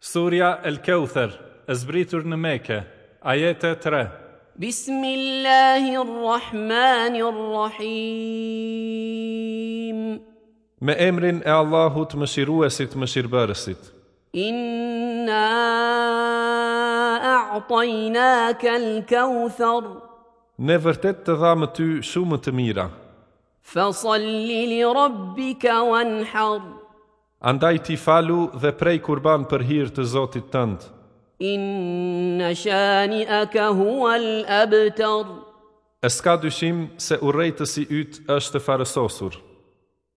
Surja El Keuther, e zbritur në Mekë, ajete 3. بسم الله الرحمن الرحيم Me emrin e Allahut më shiruesit më shirëbërësit. إنا أعطيناك الكوثر Ne vërtet të dhamë ty shumë të mira. فصل لربك وانحر Andaj ti falu dhe prej kurban për hirë të Zotit tëndë. إن شانئك هو الأبتر E s'ka dyshim se urrejtësi ytë është farësosur.